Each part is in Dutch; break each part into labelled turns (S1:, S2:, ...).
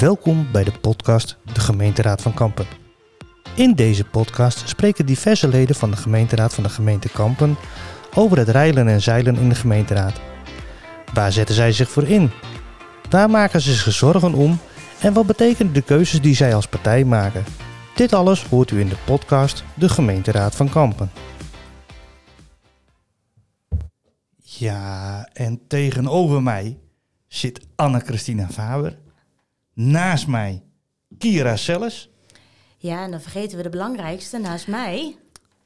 S1: Welkom bij de podcast De Gemeenteraad van Kampen. In deze podcast spreken diverse leden van de gemeenteraad van de gemeente Kampen over het reilen en zeilen in de gemeenteraad. Waar zetten zij zich voor in? Waar maken ze zich zorgen om? En wat betekenen de keuzes die zij als partij maken? Dit alles hoort u in de podcast De Gemeenteraad van Kampen. Ja, en tegenover mij zit Anne-Christina Faber. Naast mij Kira Selles.
S2: Ja, en dan vergeten we de belangrijkste naast mij.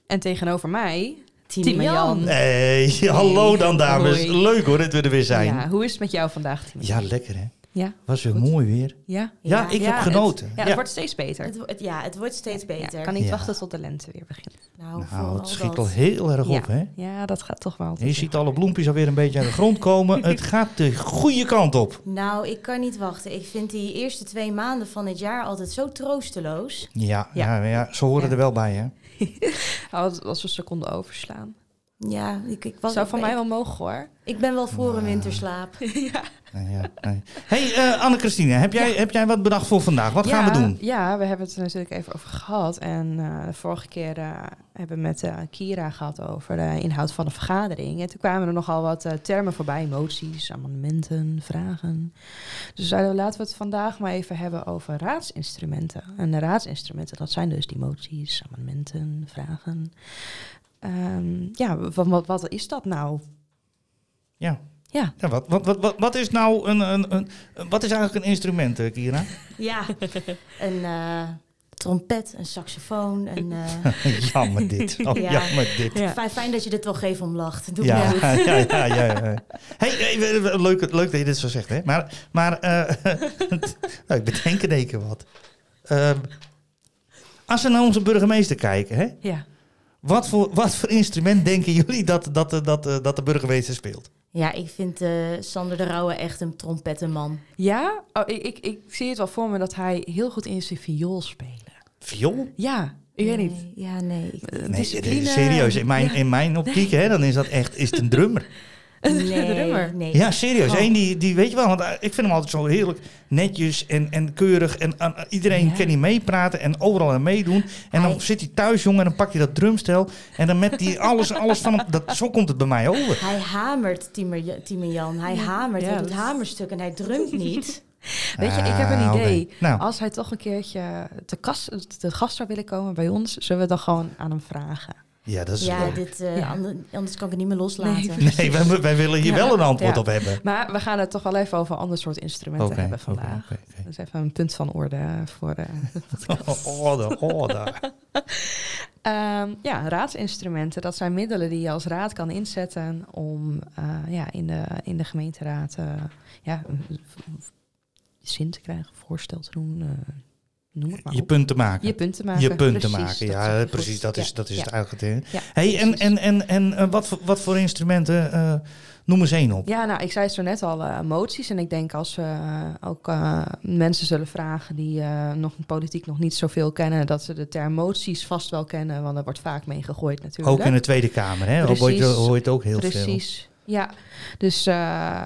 S3: En tegenover mij,
S2: Tine
S3: Tine
S2: Jan.
S3: Jan.
S1: Hey, hallo dan dames.
S3: Hoi.
S1: Leuk hoor dat we er weer zijn.
S3: Ja,
S1: Ja,
S3: hoe is het met jou vandaag, Tine?
S1: lekker hè.
S3: Ja.
S1: Was weer
S3: Goed.
S1: mooi weer.
S3: Ja,
S1: Ja,
S2: Ja,
S1: ik
S2: ja,
S1: heb
S2: het-
S1: genoten.
S3: ja het wordt steeds beter.
S2: Het, wo- het- ja, het wordt steeds beter.
S3: Ja, kan niet
S1: Ja.
S3: wachten tot de lente weer begint.
S2: Nou, vooral
S1: Nou, het schiet
S2: dat.
S1: al heel erg
S3: Oh, ja.
S1: op hè.
S3: Ja, dat gaat toch wel. altijd
S1: Je ziet alle bloempjes alweer een beetje aan de grond komen. het gaat de goede kant op.
S2: Nou, ik kan niet wachten. Ik vind die eerste twee maanden van het jaar altijd zo troosteloos.
S1: Ja,
S3: Ja.
S1: ja. ja, ze horen
S3: Ja.
S1: er wel bij hè.
S3: goed. Als, als we Oh, een seconde overslaan.
S2: Ja, ik, ik, was,
S3: Zou
S2: ik,
S3: van mij wel mogen hoor.
S2: ik, ik ben wel voor een winterslaap.
S1: Nee, ja, nee. hey, eh, Anne-Christine, heb jij, heb jij wat bedacht voor vandaag? Wat gaan
S3: Ja,
S1: we doen?
S3: Ja, we hebben het er natuurlijk even over gehad. En eh, de vorige keer eh, hebben we met eh, Kira gehad over de inhoud van de vergadering. En toen kwamen er nogal wat eh, termen voorbij. Moties, amendementen, vragen. Dus zeiden we, laten we het vandaag maar even hebben over raadsinstrumenten. En de raadsinstrumenten, dat zijn dus die moties, amendementen, vragen. Ehm, ja, wat, wat, wat is dat nou?
S1: Ja.
S3: Ja.
S1: Ja, wat, wat, wat, wat, wat is nou een, een, een, wat is eigenlijk een instrument, eh, Kira?
S2: ja, een eh, trompet, een saxofoon. Een, eh,
S1: jammer dit. Oh,
S2: Ja.
S1: jammer dit.
S3: Ja.
S2: fijn, fijn dat je dit wel geeft om lacht. Doe
S1: Ja,
S2: maar
S1: ja, ja, ja. ja. Hey, hey, we- we- leuk, leuk dat je dit zo zegt, hè? Maar, maar eh, nou, ik bedenk in één keer wat. Ehm, als we naar onze burgemeester kijken, hè?
S3: Ja.
S1: Wat, voor, wat voor instrument denken jullie dat, dat, eh, dat, dat, dat de burgemeester speelt?
S2: Ja, ik vind eh, Sander de Rauwe echt een trompettenman.
S3: Ja, oh, ik, ik, ik zie het wel voor me dat hij heel goed in zijn viool spelen.
S1: Viool?
S3: Ja, ik weet niet.
S2: Nee, Ja, nee. ik-
S3: Eh,
S1: Nee,
S3: discipline.
S1: serieus. In mijn,
S3: Ja.
S1: in mijn optiek, hè, dan is dat echt is het een drummer.
S3: De drummer.
S2: Nee, nee.
S1: Ja, serieus.
S2: Oh.
S1: Eén die, die weet je wel, want eh, ik vind hem altijd zo heerlijk netjes en, en keurig. En aan- iedereen
S3: Ja.
S1: kan hij meepraten en overal aan meedoen. En dan
S2: Hij-
S1: zit hij thuis, jongen, en dan pakt hij dat drumstel. En dan met die alles, alles van hem. Dat, zo komt het bij mij over.
S2: Hij hamert, Timer- Timen Jan. Hij hamert.
S3: ja,
S2: hij
S3: dat
S2: doet
S3: is-
S2: hamerstuk en hij drumt niet.
S3: Weet je, ik heb een
S1: Ah, oké.
S3: idee.
S1: Nou.
S3: Als hij toch een keertje te, kas, te gast zou willen komen bij ons, zullen we dan gewoon aan hem vragen.
S1: Ja, dat is...
S2: ja,
S1: leuk.
S2: dit, eh,
S3: Ja.
S2: ander- anders kan ik het niet meer loslaten.
S1: Nee, wij, wij willen hier
S3: Ja.
S1: wel een antwoord
S3: Ja.
S1: op hebben.
S3: Maar we gaan het toch wel even over een ander soort instrumenten
S1: Oké,
S3: hebben
S1: oké,
S3: vandaag.
S1: oké, oké.
S3: Dat is even een punt van orde eh, voor de
S1: Orde, orde.
S3: Ehm, ja, raadsinstrumenten, dat zijn middelen die je als raad kan inzetten om eh, ja, in, de, in de gemeenteraad eh, ja, een zin te krijgen, voorstel te doen, eh, noem het maar
S1: Je
S3: op.
S1: punt te maken.
S3: je punt te maken.
S1: Je punt te
S3: Precies,
S1: maken,
S3: dat
S1: ja,
S3: zeg je
S1: precies.
S3: goed.
S1: Dat is,
S3: Ja,
S1: dat is
S3: ja.
S1: het eigenlijk. hè.
S3: Ja,
S1: hey, en,
S3: precies.
S1: en, en, en eh, wat, voor, wat voor instrumenten? eh, noem eens één op.
S3: Ja, nou, ik zei zo net al, eh, moties. En ik denk als we eh, ook eh, mensen zullen vragen die eh, nog politiek nog niet zoveel kennen, dat ze de term moties vast wel kennen, want er wordt vaak mee gegooid natuurlijk.
S1: Ook in de Tweede Kamer, hè? Hoor je,
S3: Precies.
S1: hoor je het ook heel veel.
S3: Precies, ja. Dus eh,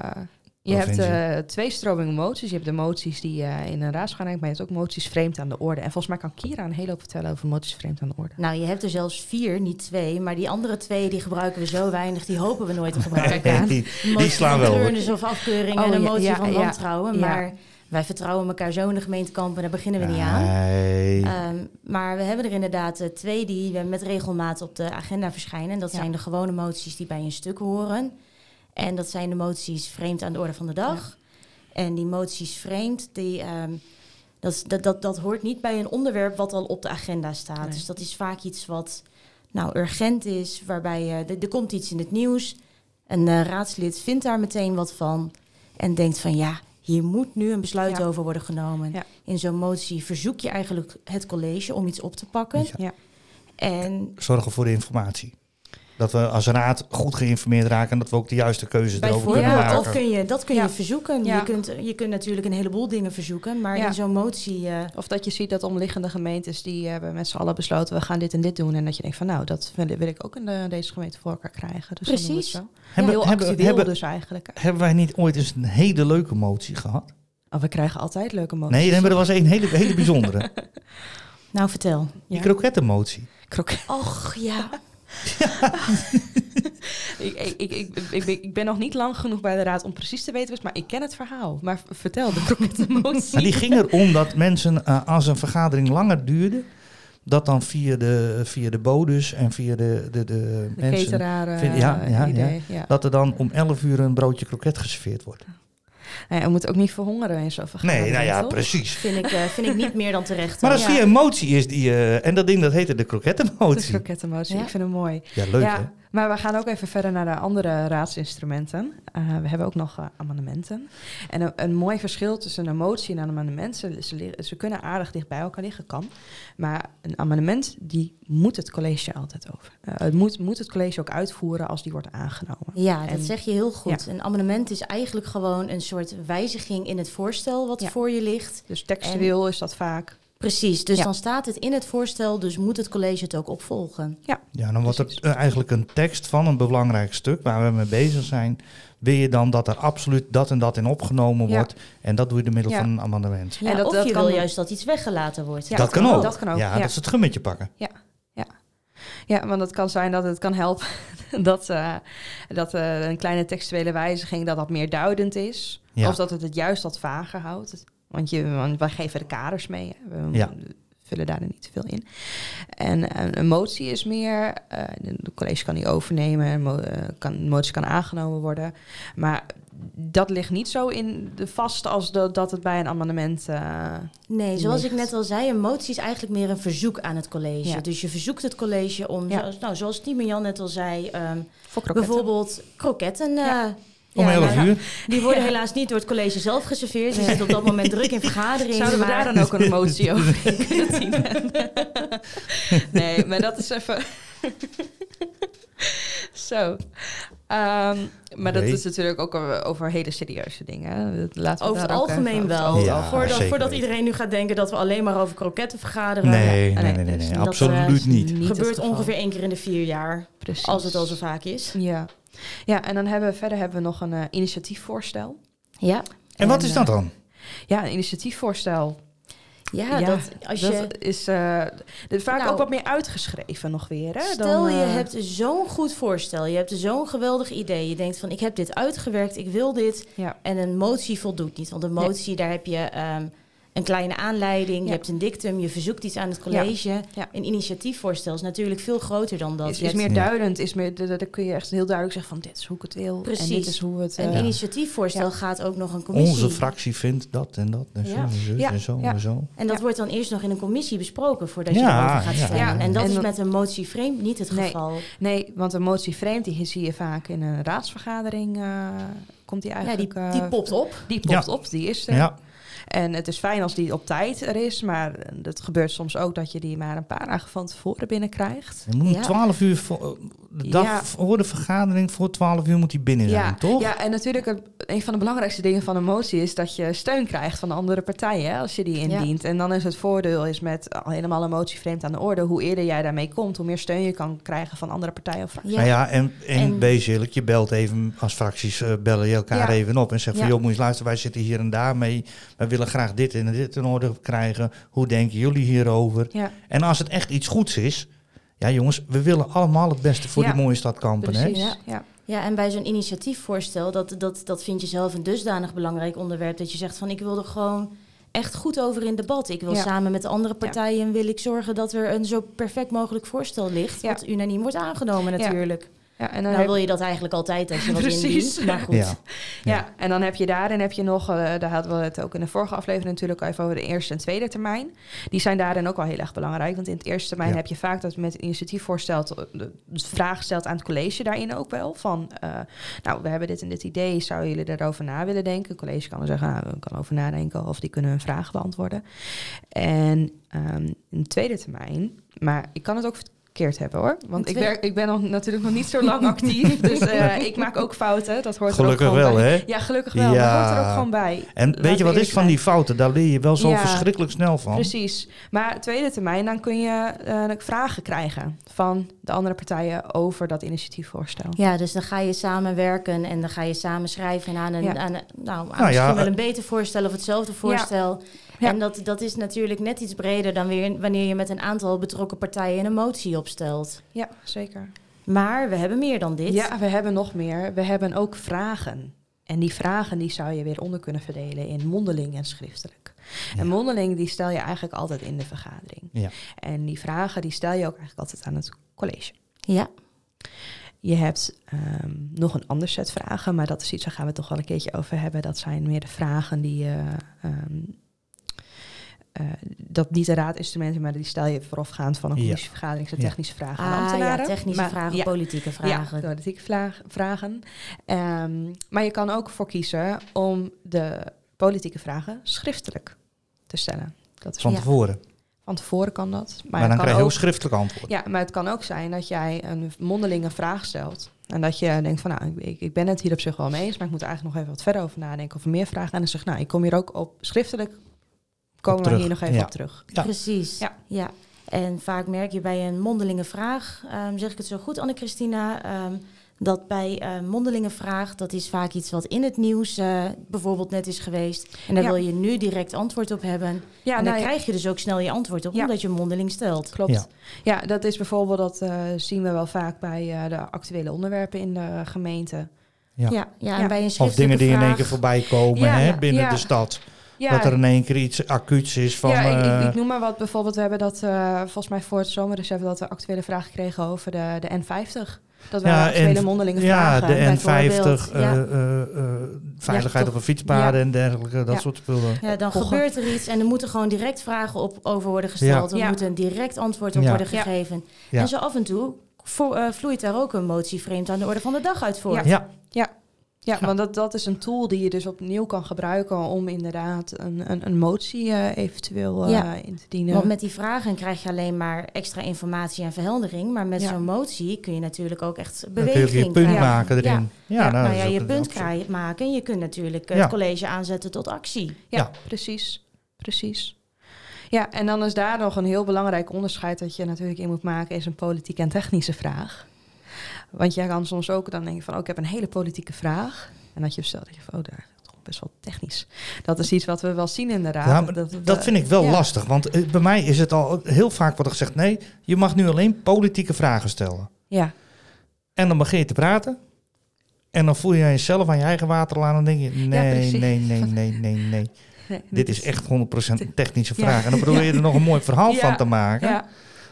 S3: je
S1: Wat
S3: hebt
S1: vind je?
S3: eh, twee stromingen moties. Je hebt de moties die eh, in een raadsvergadering, maar je hebt ook moties vreemd aan de orde. En volgens mij kan Kira een hele hoop vertellen over moties vreemd aan de orde.
S2: Nou, je hebt er zelfs vier, niet twee. Maar die andere twee, die gebruiken we zo weinig. Die hopen we nooit te
S1: Nee,
S2: gebruiken.
S1: die, die slaan wel. hoor.
S2: Een of afkeuring
S3: Oh,
S2: en een
S3: ja,
S2: motie
S3: ja,
S2: van
S3: ja,
S2: wantrouwen.
S3: ja.
S2: Maar wij vertrouwen elkaar zo in de gemeentekamp en daar beginnen we niet aan.
S1: Nee.
S3: Eh.
S2: Ehm, maar we hebben er inderdaad eh, twee die eh, met regelmaat op de agenda verschijnen. Dat
S3: Ja.
S2: zijn de gewone moties die bij een stuk horen. En dat zijn de moties vreemd aan de orde van de dag. En die moties vreemd, die, ehm, dat, is- dat, dat, dat hoort niet bij een onderwerp wat al op de agenda staat.
S3: Nee.
S2: Dus dat is vaak iets wat nou, urgent is, waarbij eh, er- er komt iets in het nieuws. Een eh, raadslid vindt daar meteen wat van en denkt van ja, hier moet nu een besluit
S3: Ja.
S2: over worden genomen.
S3: Ja.
S2: In zo'n motie verzoek je eigenlijk het college om iets op te pakken.
S1: Ja.
S3: Ja.
S2: En
S1: Zorgen voor de informatie. Dat we als raad goed geïnformeerd raken en dat we ook de juiste keuzes erover kunnen
S2: bijvoorbeeld,
S3: Ja,
S2: of
S1: maken.
S2: kun je, dat kun
S3: Ja.
S2: je verzoeken.
S3: Ja.
S2: Je, kunt, je kunt natuurlijk een heleboel dingen verzoeken, maar
S3: Ja.
S2: in zo'n motie... eh,
S3: Of dat je ziet dat omliggende gemeentes die hebben met z'n allen besloten, we gaan dit en dit doen. En dat je denkt van nou, dat wil, wil ik ook in de- deze gemeente voor elkaar krijgen. Dus dan doen we het
S2: Precies.
S3: zo.
S1: Hebben,
S3: Heel
S1: hebben,
S3: actueel
S1: hebben,
S3: dus eigenlijk.
S1: hebben wij niet ooit eens een hele leuke motie gehad?
S3: Oh, we krijgen altijd leuke moties.
S1: Nee, nee, maar er was een hele, hele bijzondere.
S2: Nou, vertel.
S1: Die
S3: Ja.
S1: krokettenmotie.
S3: Kroket.
S2: Och, ja.
S3: Ik, ik, ik, ik, ik ben, ik ben nog niet lang genoeg bij de raad om precies te weten, dus, maar ik ken het verhaal. Maar v- vertel, de krokettenmotie.
S1: Maar die ging erom dat mensen, eh, als een vergadering langer duurde, dat dan via de, via de bodus en via de, de, de,
S3: de
S1: mensen,
S3: cateraar eh,
S1: Vind- ja, ja,
S3: idee. Ja.
S1: dat er dan om 11 uur een broodje kroket geserveerd wordt.
S3: Nou ja, we moeten ook niet verhongeren in zo'n vergadering.
S1: Nee, nou ja,
S3: toch?
S1: precies.
S2: Vind ik, eh, vind ik niet meer dan terecht.
S1: Maar
S2: hoor.
S1: als die emotie is die, eh, en dat ding dat heette de
S3: De
S1: krokettenmotie.
S3: krokettenmotie,
S2: Ja.
S3: ik vind hem mooi.
S1: Ja, leuk hè?
S3: ja, maar we gaan ook even verder naar de andere raadsinstrumenten. Eh, we hebben ook nog eh, amendementen. En een, een mooi verschil tussen een motie en een amendement, ze, ze, li- ze kunnen aardig dicht bij elkaar liggen, kan. Maar een amendement, die moet het college altijd over. Eh, het moet, moet het college ook uitvoeren als die wordt aangenomen.
S2: Ja, dat
S3: En-
S2: zeg je heel goed. Een amendement is eigenlijk gewoon een soort wijziging in het voorstel wat
S3: Ja.
S2: voor je ligt.
S3: Dus textueel is dat vaak.
S2: Precies, dus
S3: Ja.
S2: dan staat het in het voorstel, dus moet het college het ook opvolgen.
S1: Ja, dan wordt er eh, eigenlijk een tekst van een belangrijk stuk waar we mee bezig zijn. Wil je dan dat er absoluut dat en dat in opgenomen
S3: Ja.
S1: wordt? En dat doe je door middel
S3: Ja.
S1: van een amendement.
S2: Ja,
S3: En dat-
S2: of
S3: dat
S2: je
S3: kan
S2: wil
S3: ook.
S2: juist dat iets weggelaten wordt.
S3: Ja.
S1: dat,
S3: dat
S1: kan
S3: kan
S1: ook.
S3: ook, dat kan ook,
S1: Ja,
S3: ja.
S1: dat is het gummetje pakken.
S3: Ja, want het kan zijn dat het kan helpen dat, eh, dat eh, een kleine textuele wijziging dat dat meer duidend is.
S1: Ja.
S3: Of dat het het juist wat vager houdt. Want, je, want wij geven de kaders mee. Hè. We
S1: Ja.
S3: vullen daar niet te veel in. En eh, een motie is meer, eh de college kan die overnemen, een mo- eh, kan, een motie kan aangenomen worden. Maar dat ligt niet zo in de vast als dat dat het bij een amendement... eh,
S2: Nee, zoals ik
S3: Ligt.
S2: net al zei, een motie is eigenlijk meer een verzoek aan het college.
S3: Ja.
S2: Dus je verzoekt het college om,
S3: Ja.
S2: zoals, nou, zoals Tim en Jan net al zei, ehm,
S3: voor kroketten.
S2: bijvoorbeeld kroketten.
S3: Ja.
S2: eh,
S1: Om
S2: ja,
S1: 11
S2: nou,
S1: uur.
S2: Die worden helaas niet door het college zelf geserveerd. Die zitten op dat moment druk in vergaderingen.
S3: Zouden we
S2: maar-
S3: daar dan ook een motie over in kunnen dienen? nee, maar dat is even... Zo. Ehm, maar dat
S1: Nee.
S3: is natuurlijk ook over, over hele serieuze dingen. Dat Laten we
S2: Over het
S3: daar ook
S2: algemeen
S3: even-
S2: wel.
S1: over- Ja,
S2: voordat,
S1: zeker
S2: voordat
S1: weten.
S2: iedereen nu gaat denken dat we alleen maar over kroketten vergaderen.
S1: Nee, nee, nee, nee,
S3: nee,
S1: nee,
S3: dus
S2: dat,
S1: absoluut
S2: eh,
S1: niet.
S3: Niet het
S2: Gebeurt
S3: geval.
S2: ongeveer één keer in de vier jaar.
S3: Precies.
S2: Als het al zo vaak is.
S3: Ja. ja, en dan hebben we verder hebben we nog een eh, initiatiefvoorstel.
S2: Ja,
S1: En wat
S3: en,
S1: is
S3: eh,
S1: dat dan?
S3: Ja, een initiatiefvoorstel.
S2: ja,
S3: Ja,
S2: dat als je.
S3: Dat is eh, de- vaak
S2: Nou,
S3: ook wat meer uitgeschreven nog weer. Hè,
S2: Stel,
S3: dan,
S2: je
S3: eh,
S2: hebt zo'n goed voorstel. Je hebt zo'n geweldig idee. Je denkt van, ik heb dit uitgewerkt, ik wil dit.
S3: Ja.
S2: En een motie voldoet niet. Want een
S3: Nee.
S2: motie, daar heb je ehm, een kleine aanleiding. Je
S3: Ja.
S2: hebt een dictum, je verzoekt iets aan het college.
S3: Ja.
S2: Een initiatiefvoorstel is natuurlijk veel groter dan dat.
S3: is,
S2: Je
S3: is
S2: hebt-
S3: meer
S1: Ja.
S3: duidend. Is meer, da- da- daar kun je echt heel duidelijk zeggen van dit is hoe ik het wil.
S2: Precies.
S3: En dit is hoe het...
S2: Een
S3: eh,
S2: initiatiefvoorstel gaat ook nog een commissie.
S1: Onze fractie vindt dat en dat en zo
S2: Ja.
S1: en zo
S3: Ja,
S1: en zo
S3: ja.
S1: en zo.
S2: En dat
S3: Ja.
S2: wordt dan eerst nog in een commissie besproken voordat je
S1: Ja,
S2: erover gaat
S1: ja,
S2: stemmen.
S3: ja.
S2: En dat
S3: En
S2: is
S3: dat-
S2: met een motie vreemd niet het
S3: Nee.
S2: geval.
S3: Nee, want een motie vreemd, die zie je vaak in een raadsvergadering. eh, komt die
S2: Ja, die,
S3: eigenlijk... eh,
S2: die popt op.
S3: Die popt
S1: Ja.
S3: op, die is er.
S1: Ja,
S3: En het is fijn als die op tijd er is, maar eh, het gebeurt soms ook dat je die maar een paar dagen van tevoren binnenkrijgt.
S1: je moet om
S2: Ja.
S1: 12 uur, voor, eh, de dag
S3: Ja.
S1: voor de vergadering, voor 12 uur moet hij binnen zijn,
S3: ja,
S1: toch?
S3: ja, en natuurlijk een, een van de belangrijkste dingen van een motie is dat je steun krijgt van de andere partijen hè, als je die indient. En dan is het voordeel is met al helemaal een motie vreemd aan de orde, hoe eerder jij daarmee komt, hoe meer steun je kan krijgen van andere partijen of fracties.
S2: Ja.
S1: Nou ja, en, en,
S2: En-
S1: wees eerlijk, je belt even als fracties, eh, bellen je elkaar
S3: Ja.
S1: even op en zeggen van
S2: Ja.
S1: joh, moet je eens luisteren, wij zitten hier en daar mee. Wij willen graag dit en dit in orde krijgen. Hoe denken jullie hierover?
S3: Ja,
S1: En als het echt iets goeds is, ja jongens, we willen allemaal het beste voor
S3: Ja.
S1: die mooie stad Kampen. Hè?
S3: precies. Ja. Ja.
S2: Ja, en bij zo'n initiatiefvoorstel, dat, dat, dat vind je zelf een dusdanig belangrijk onderwerp. Dat je zegt van ik wil er gewoon echt goed over in debat. Ik wil
S3: Ja.
S2: samen met de andere partijen wil ik zorgen dat er een zo perfect mogelijk voorstel ligt.
S3: Ja.
S2: Wat unaniem wordt aangenomen
S3: Ja.
S2: natuurlijk.
S3: en dan
S2: Nou
S3: heb-
S2: wil je dat eigenlijk altijd als je wat
S3: Precies.
S2: indient. Maar goed.
S1: Ja.
S3: Ja. en dan heb je daarin heb je nog, eh, daar hadden we het ook in de vorige aflevering natuurlijk al even over de eerste en tweede termijn. Die zijn daarin ook al heel erg belangrijk. Want in het eerste termijn
S1: Ja.
S3: heb je vaak dat met een initiatiefvoorstel te- de vraag stelt aan het college daarin ook wel. Van eh, nou, we hebben dit en dit idee, zouden jullie daarover na willen denken? Het college kan dan zeggen, nou, we kunnen over nadenken of die kunnen hun vraag beantwoorden. En ehm, in de tweede termijn, maar ik kan het ook verkeerd hebben hoor. Want
S2: Een
S3: ik,
S2: twi-
S3: werk, ik ben nog, natuurlijk nog niet zo lang actief. Dus eh, ik maak ook fouten. Dat hoort
S1: Gelukkig
S3: er ook gewoon
S1: wel,
S3: bij.
S1: hè?
S3: Ja, gelukkig wel.
S1: Ja.
S3: Dat hoort er ook gewoon bij.
S1: En
S3: Laten
S1: weet je wat
S3: we
S1: is
S3: eerlijk
S1: van
S3: zijn.
S1: die fouten? Daar leer je wel zo
S3: Ja.
S1: verschrikkelijk snel van.
S3: Precies. Maar tweede termijn, dan kun je eh, vragen krijgen van de andere partijen over dat initiatiefvoorstel.
S2: Ja, dus dan ga je samenwerken en dan ga je samen schrijven en aan een,
S3: Ja.
S2: aan een- nou, aan
S1: ja,
S2: misschien wel
S1: eh,
S2: een beter voorstel of hetzelfde voorstel.
S3: Ja.
S2: En dat, dat is natuurlijk net iets breder dan weer wanneer je met een aantal betrokken partijen een motie opstelt.
S3: Ja, zeker.
S2: Maar we hebben meer dan dit.
S3: Ja, we hebben nog meer. We hebben ook vragen. En die vragen die zou je weer onder kunnen verdelen in mondeling en schriftelijk. En mondeling die stel je eigenlijk altijd in de vergadering.
S1: Ja.
S3: En die vragen die stel je ook eigenlijk altijd aan het college.
S2: Ja.
S3: Je hebt ehm, nog een ander set vragen, maar dat is iets, daar gaan we het toch wel een keertje over hebben. Dat zijn meer de vragen die je. ehm, eh, dat niet de raadinstrumenten, maar die stel je voorafgaand van een
S1: Ja.
S3: commissievergadering. Dat zijn
S1: Ja.
S3: technische vragen aan
S2: Ah, ja,
S3: ambtenaren.
S2: technische
S3: Maar-
S2: vragen,
S3: ja,
S2: politieke vragen.
S3: ja, politieke vla- vragen. Ehm, maar je kan ook voor kiezen om de politieke vragen schriftelijk te stellen. Dat is
S1: Van
S2: Ja.
S1: tevoren.
S3: van tevoren kan dat. Maar,
S1: Maar, dan
S3: kan
S1: krijg je ook
S3: ook,
S1: schriftelijk antwoord.
S3: ja, maar het kan ook zijn dat jij een mondelinge vraag stelt. En dat je denkt van, nou, ik- ik, ik ben het hier op zich wel mee eens, maar ik moet er eigenlijk nog even wat verder over nadenken of meer vragen. En dan zeg ik, nou, ik kom hier ook op schriftelijk, komen we
S1: terug,
S3: hier nog even
S1: ja.
S3: op terug.
S1: Ja.
S2: Precies.
S3: Ja.
S2: Ja. En vaak merk je bij een mondelinge vraag, ehm, zeg ik het zo goed, Anne-Christina, ehm, dat bij eh mondelinge vraag, dat is vaak iets wat in het nieuws eh, bijvoorbeeld net is geweest. En daar
S3: Ja.
S2: wil je nu direct antwoord op hebben.
S3: Ja,
S2: en dan
S3: nou ja.
S2: krijg je dus ook snel je antwoord op,
S3: Ja.
S2: omdat je hem mondeling stelt.
S3: Klopt.
S1: Ja.
S3: Ja. dat is bijvoorbeeld, dat eh, zien we wel vaak bij eh, de actuele onderwerpen in de gemeente.
S1: Ja.
S2: Ja, ja, en
S3: Ja.
S2: bij een
S1: Of dingen
S2: schriftelijke
S1: die in één
S2: vraag-
S1: keer voorbij komen
S3: Ja,
S1: hè,
S3: ja,
S1: binnen
S3: ja.
S1: de stad.
S3: Ja,
S1: Dat er in één keer iets acuuts is van...
S3: ja, ik- ik,
S1: eh,
S3: ik noem maar wat. Bijvoorbeeld, we hebben dat eh, volgens mij voor het zomerreces hebben we dat de actuele vraag gekregen over de, de N50. Dat waren
S1: Ja,
S3: actuele
S1: en-
S3: mondelinge
S1: ja,
S3: vragen.
S1: de
S2: bijvoorbeeld.
S1: N50,
S2: Ja.
S1: eh, eh, eh, veiligheid
S3: toch.
S1: op een fietspaden
S3: Ja.
S1: en dergelijke, dat
S3: Ja.
S1: soort spullen.
S2: Ja, dan
S3: Kogel.
S2: gebeurt er iets en er moeten gewoon direct vragen op over worden gesteld.
S3: Ja.
S2: Er
S3: Ja.
S2: moet een direct antwoord op
S1: Ja.
S2: worden
S3: Ja.
S2: gegeven.
S1: Ja.
S2: En zo af en toe vo- eh, vloeit daar ook een motie vreemd aan de orde van de dag uit voor.
S3: Ja.
S1: Ja,
S3: Ja, want dat, dat is een tool die je dus opnieuw kan gebruiken om inderdaad een, een, een motie eh, eventueel eh,
S2: Ja.
S3: in te dienen.
S2: Want met die vragen krijg je alleen maar extra informatie en verheldering. Maar met
S3: Ja.
S2: zo'n motie kun je natuurlijk ook echt
S1: dan kun je ook
S2: beweging
S1: je punt
S2: krijgen.
S1: maken
S2: Ja.
S1: erin. Ja,
S3: Ja,
S1: nou,
S2: nou
S1: dat
S2: ja,
S1: is
S2: je
S1: ook
S2: punt
S1: een-
S2: krijg, maken en je kunt natuurlijk eh,
S1: Ja.
S2: het college aanzetten tot actie.
S3: Ja,
S1: Ja.
S3: precies. Precies. Ja, en dan is daar nog een heel belangrijk onderscheid dat je natuurlijk in moet maken, is een politieke en technische vraag. Want jij kan soms ook dan denken van, oh, ik heb een hele politieke vraag. En dat je stelt, dat je van, oh, daar is toch best wel technisch. Dat is iets wat we wel zien in de raad.
S1: Ja, maar
S3: het,
S1: Dat
S3: eh,
S1: vind ik wel
S3: ja.
S1: lastig, want eh, bij mij is het al heel vaak wordt er gezegd... nee, je mag nu alleen politieke vragen stellen.
S3: Ja,
S1: En dan begin je te praten... En dan voel je jezelf aan je eigen waterlaan en denk je... nee,
S3: precies.
S1: nee, nee, nee, nee, nee.
S3: nee,
S1: Dit is echt 100% een technische
S3: Ja.
S1: vraag. En dan probeer je er nog een mooi verhaal
S3: Ja.
S1: van te maken.
S3: Ja,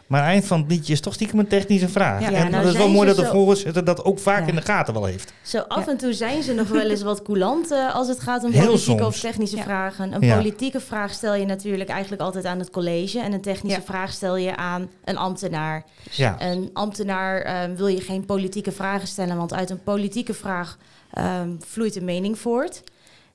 S1: Maar eind van het liedje is toch stiekem een technische vraag.
S2: Ja,
S1: en
S2: nou
S1: dat is wel
S2: zijn
S1: mooi
S2: ze
S1: dat de
S2: zo-
S1: voorzitter dat ook vaak
S3: Ja.
S1: in de gaten wel heeft.
S2: Zo af
S3: Ja.
S2: en toe zijn ze nog wel eens wat coulant eh, als het gaat om
S1: Heel
S2: politieke
S1: soms.
S2: of technische
S3: Ja.
S2: vragen. Een
S1: Ja.
S2: politieke vraag stel je natuurlijk eigenlijk altijd aan het college. En een technische
S3: Ja.
S2: vraag stel je aan een ambtenaar.
S1: Ja,
S2: Een ambtenaar eh, wil je geen politieke vragen stellen, want uit een politieke vraag ehm, vloeit een mening voort.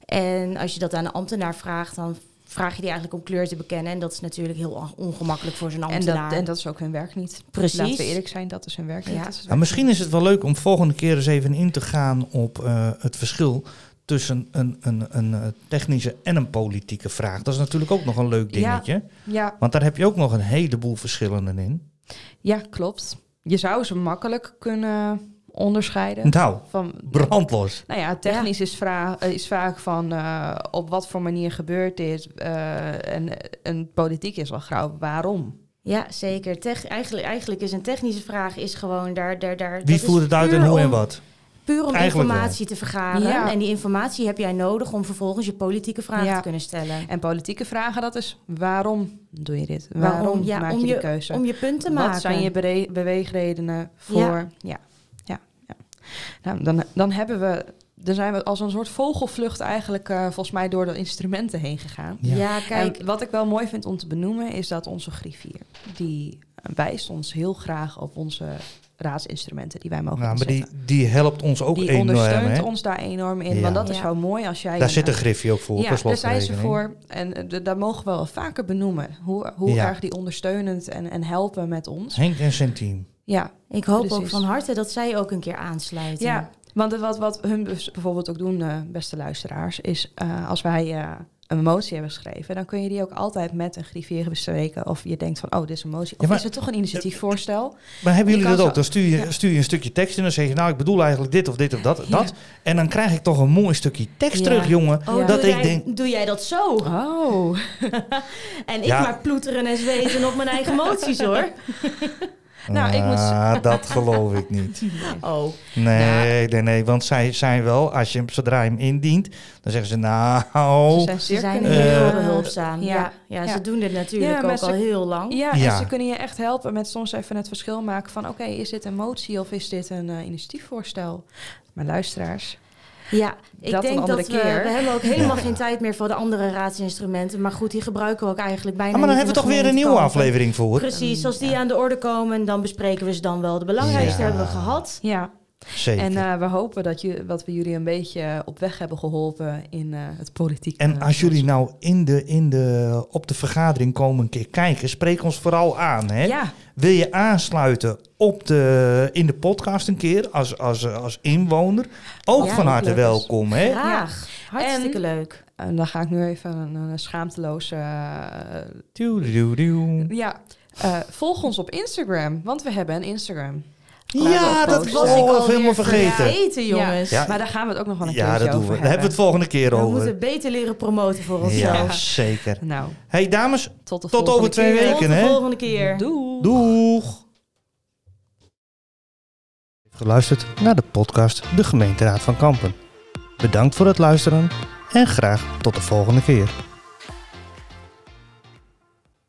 S2: En als je dat aan een ambtenaar vraagt, dan vraag je die eigenlijk om kleur te bekennen. En dat is natuurlijk heel on- ongemakkelijk voor zo'n
S3: en
S2: ambtenaar.
S3: dat, en dat is ook hun werk niet.
S2: Precies.
S3: Laten we eerlijk zijn, dat is hun werk niet.
S2: Ja.
S3: Dat is het
S1: Nou,
S3: werk
S1: misschien is het wel leuk om volgende keer eens even in te gaan op eh, het verschil tussen een, een, een eh, technische en een politieke vraag. Dat is natuurlijk ook nog een leuk
S3: Ja.
S1: dingetje.
S3: niet. Ja,
S1: Want daar heb je ook nog een heleboel verschillen in.
S3: ja, klopt. Je zou ze makkelijk kunnen onderscheiden.
S1: Nou,
S3: Van,
S1: brandlos.
S3: Nou ja, technisch Is, vraag, eh, is vaak van eh, op wat voor manier gebeurt dit. eh, en, en politiek is wel grauw. Waarom?
S2: Ja, zeker. Tech- eigenlijk, eigenlijk is een technische vraag is gewoon daar... daar, daar dat
S1: Wie
S2: is
S1: voert het uit
S2: puur
S1: en hoe en
S2: om-
S1: wat?
S2: Puur om
S1: Eigenlijk
S2: informatie te vergaren.
S3: Ja.
S2: En die informatie heb jij nodig om vervolgens je politieke vragen
S3: Ja.
S2: te kunnen stellen.
S3: En politieke vragen, dat is waarom doe je dit?
S2: Waarom?
S3: Waarom,
S2: Ja,
S3: maak
S2: om
S3: je die
S2: je-
S3: keuze?
S2: Om je punt te maken.
S3: Wat zijn je bere- beweegredenen voor? Ja. ja, ja, Nou, dan, dan hebben we... Dan zijn we als een soort vogelvlucht eigenlijk eh, volgens mij door de instrumenten heen gegaan.
S1: Ja.
S2: Ja, kijk.
S3: En wat ik wel mooi vind om te benoemen is dat onze griffier, die wijst ons heel graag op onze eh, raadsinstrumenten die wij mogen
S1: nou, maar die,
S3: inzetten.
S1: die helpt ons ook
S3: Oh, die
S1: enorm.
S3: ondersteunt
S1: Hè?
S3: ons daar enorm in.
S1: Ja.
S3: Want dat is
S2: Ja.
S3: zo mooi als jij...
S1: Daar
S3: een- eh,
S1: zit een griffie ook voor. per
S3: Ja, daar zijn ze
S1: slotverrekening.
S3: voor. En eh, d- dat mogen we wel vaker benoemen. Hoe, hoe
S1: Ja.
S3: erg die ondersteunend en, en helpen met ons.
S1: Henk en zijn team.
S3: Ja,
S2: Ik hoop ook
S3: Precies.
S2: van harte dat zij ook een keer aansluiten.
S3: Ja, want wat, wat hun dus bijvoorbeeld ook doen, eh, beste luisteraars, is eh, als wij eh, een motie hebben geschreven, dan kun je die ook altijd met een griffier bespreken. Of je denkt van, oh, dit is een motie. Of
S1: Ja, maar-
S3: is het toch een initiatiefvoorstel?
S1: Maar hebben
S3: Je
S1: jullie dat
S3: kan
S1: ook?
S3: zo-
S1: Dan stuur je,
S3: ja.
S1: stuur je een stukje tekst en dan zeg je... nou, ik bedoel eigenlijk dit of dit of dat.
S3: Ja.
S1: dat. En dan krijg ik toch een mooi stukje tekst
S3: Ja.
S1: terug, jongen.
S2: Oh,
S3: Ja.
S2: doe,
S1: Dat ik
S2: jij,
S1: denk-
S2: doe jij dat zo?
S3: Oh.
S2: En ik
S1: Ja.
S2: maar ploeteren en zweten op mijn eigen moties hoor.
S3: Nou, ik moet-
S1: Ah, dat geloof ik niet.
S2: Oh,
S1: Nee, nee, nee. Want zij zijn wel, als je hem, zodra je hem indient... dan zeggen ze,
S3: Ze
S1: nou...
S3: zijn
S2: ze
S3: zeer
S2: zijn
S1: kunnen-
S2: heel
S1: Eh,
S2: behulpzaam.
S3: ja.
S2: Ja, ja. ze
S3: Ja.
S2: doen dit natuurlijk
S3: Ja, maar
S2: ook
S3: ze-
S2: al heel lang.
S3: Ja,
S1: Ja.
S3: En ze kunnen je echt helpen met soms even het verschil maken van, oké, is dit een motie of is dit een eh, initiatiefvoorstel? Maar luisteraars,
S2: Ja, ik
S3: Dat een
S2: denk
S3: andere
S2: dat we,
S3: keer.
S2: we hebben ook helemaal
S1: Ja.
S2: geen tijd meer voor de andere raadsinstrumenten. Maar goed, die gebruiken we ook eigenlijk bijna
S1: Ah, maar dan
S2: niet
S1: hebben
S2: in
S1: we toch
S2: de
S1: weer een nieuwe
S2: gemeentekampen.
S1: aflevering voor.
S2: Precies, als die aan de orde komen, dan bespreken we ze dan wel. De belangrijkste
S1: Ja.
S2: hebben we gehad.
S3: ja.
S1: Zeker.
S3: En
S1: En,
S3: eh, we hopen dat, je, dat we jullie een beetje op weg hebben geholpen in eh, het politiek. eh,
S1: als jullie nou in de, in de, op de vergadering komen een keer kijken... spreek ons vooral aan, hè?
S3: Ja,
S1: Wil je aansluiten op de, in de podcast een keer als, als, als inwoner? Ook
S2: Ja,
S1: van
S2: ook
S1: harte
S3: leuk is.
S1: welkom, hè?
S2: Graag. Hartstikke
S3: En-
S2: leuk.
S3: En dan ga ik nu even een, een schaamteloze. eh,
S1: Tudududu.
S3: ja, eh, volg ons op Instagram, want we hebben een Instagram.
S1: Ja, dat was
S2: ik
S1: ik al
S2: alweer
S1: helemaal vergeten.
S2: Vergeten, jongens.
S1: Ja.
S3: Maar daar gaan we het ook nog wel een
S1: Ja,
S3: keertje
S1: dat doen we.
S3: over
S1: Daar hebben we het volgende keer
S2: We
S1: over.
S2: moeten beter leren promoten voor
S1: Ja,
S2: onszelf.
S1: zeker.
S3: Nou,
S1: hey, dames,
S3: tot de
S1: tot
S3: volgende
S1: over twee
S3: keer.
S1: weken,
S2: Tot de
S1: hè?
S2: volgende keer.
S3: Doei.
S1: Doeg! Geluisterd naar de podcast De Gemeenteraad van Kampen. Bedankt voor het luisteren en graag tot de volgende keer.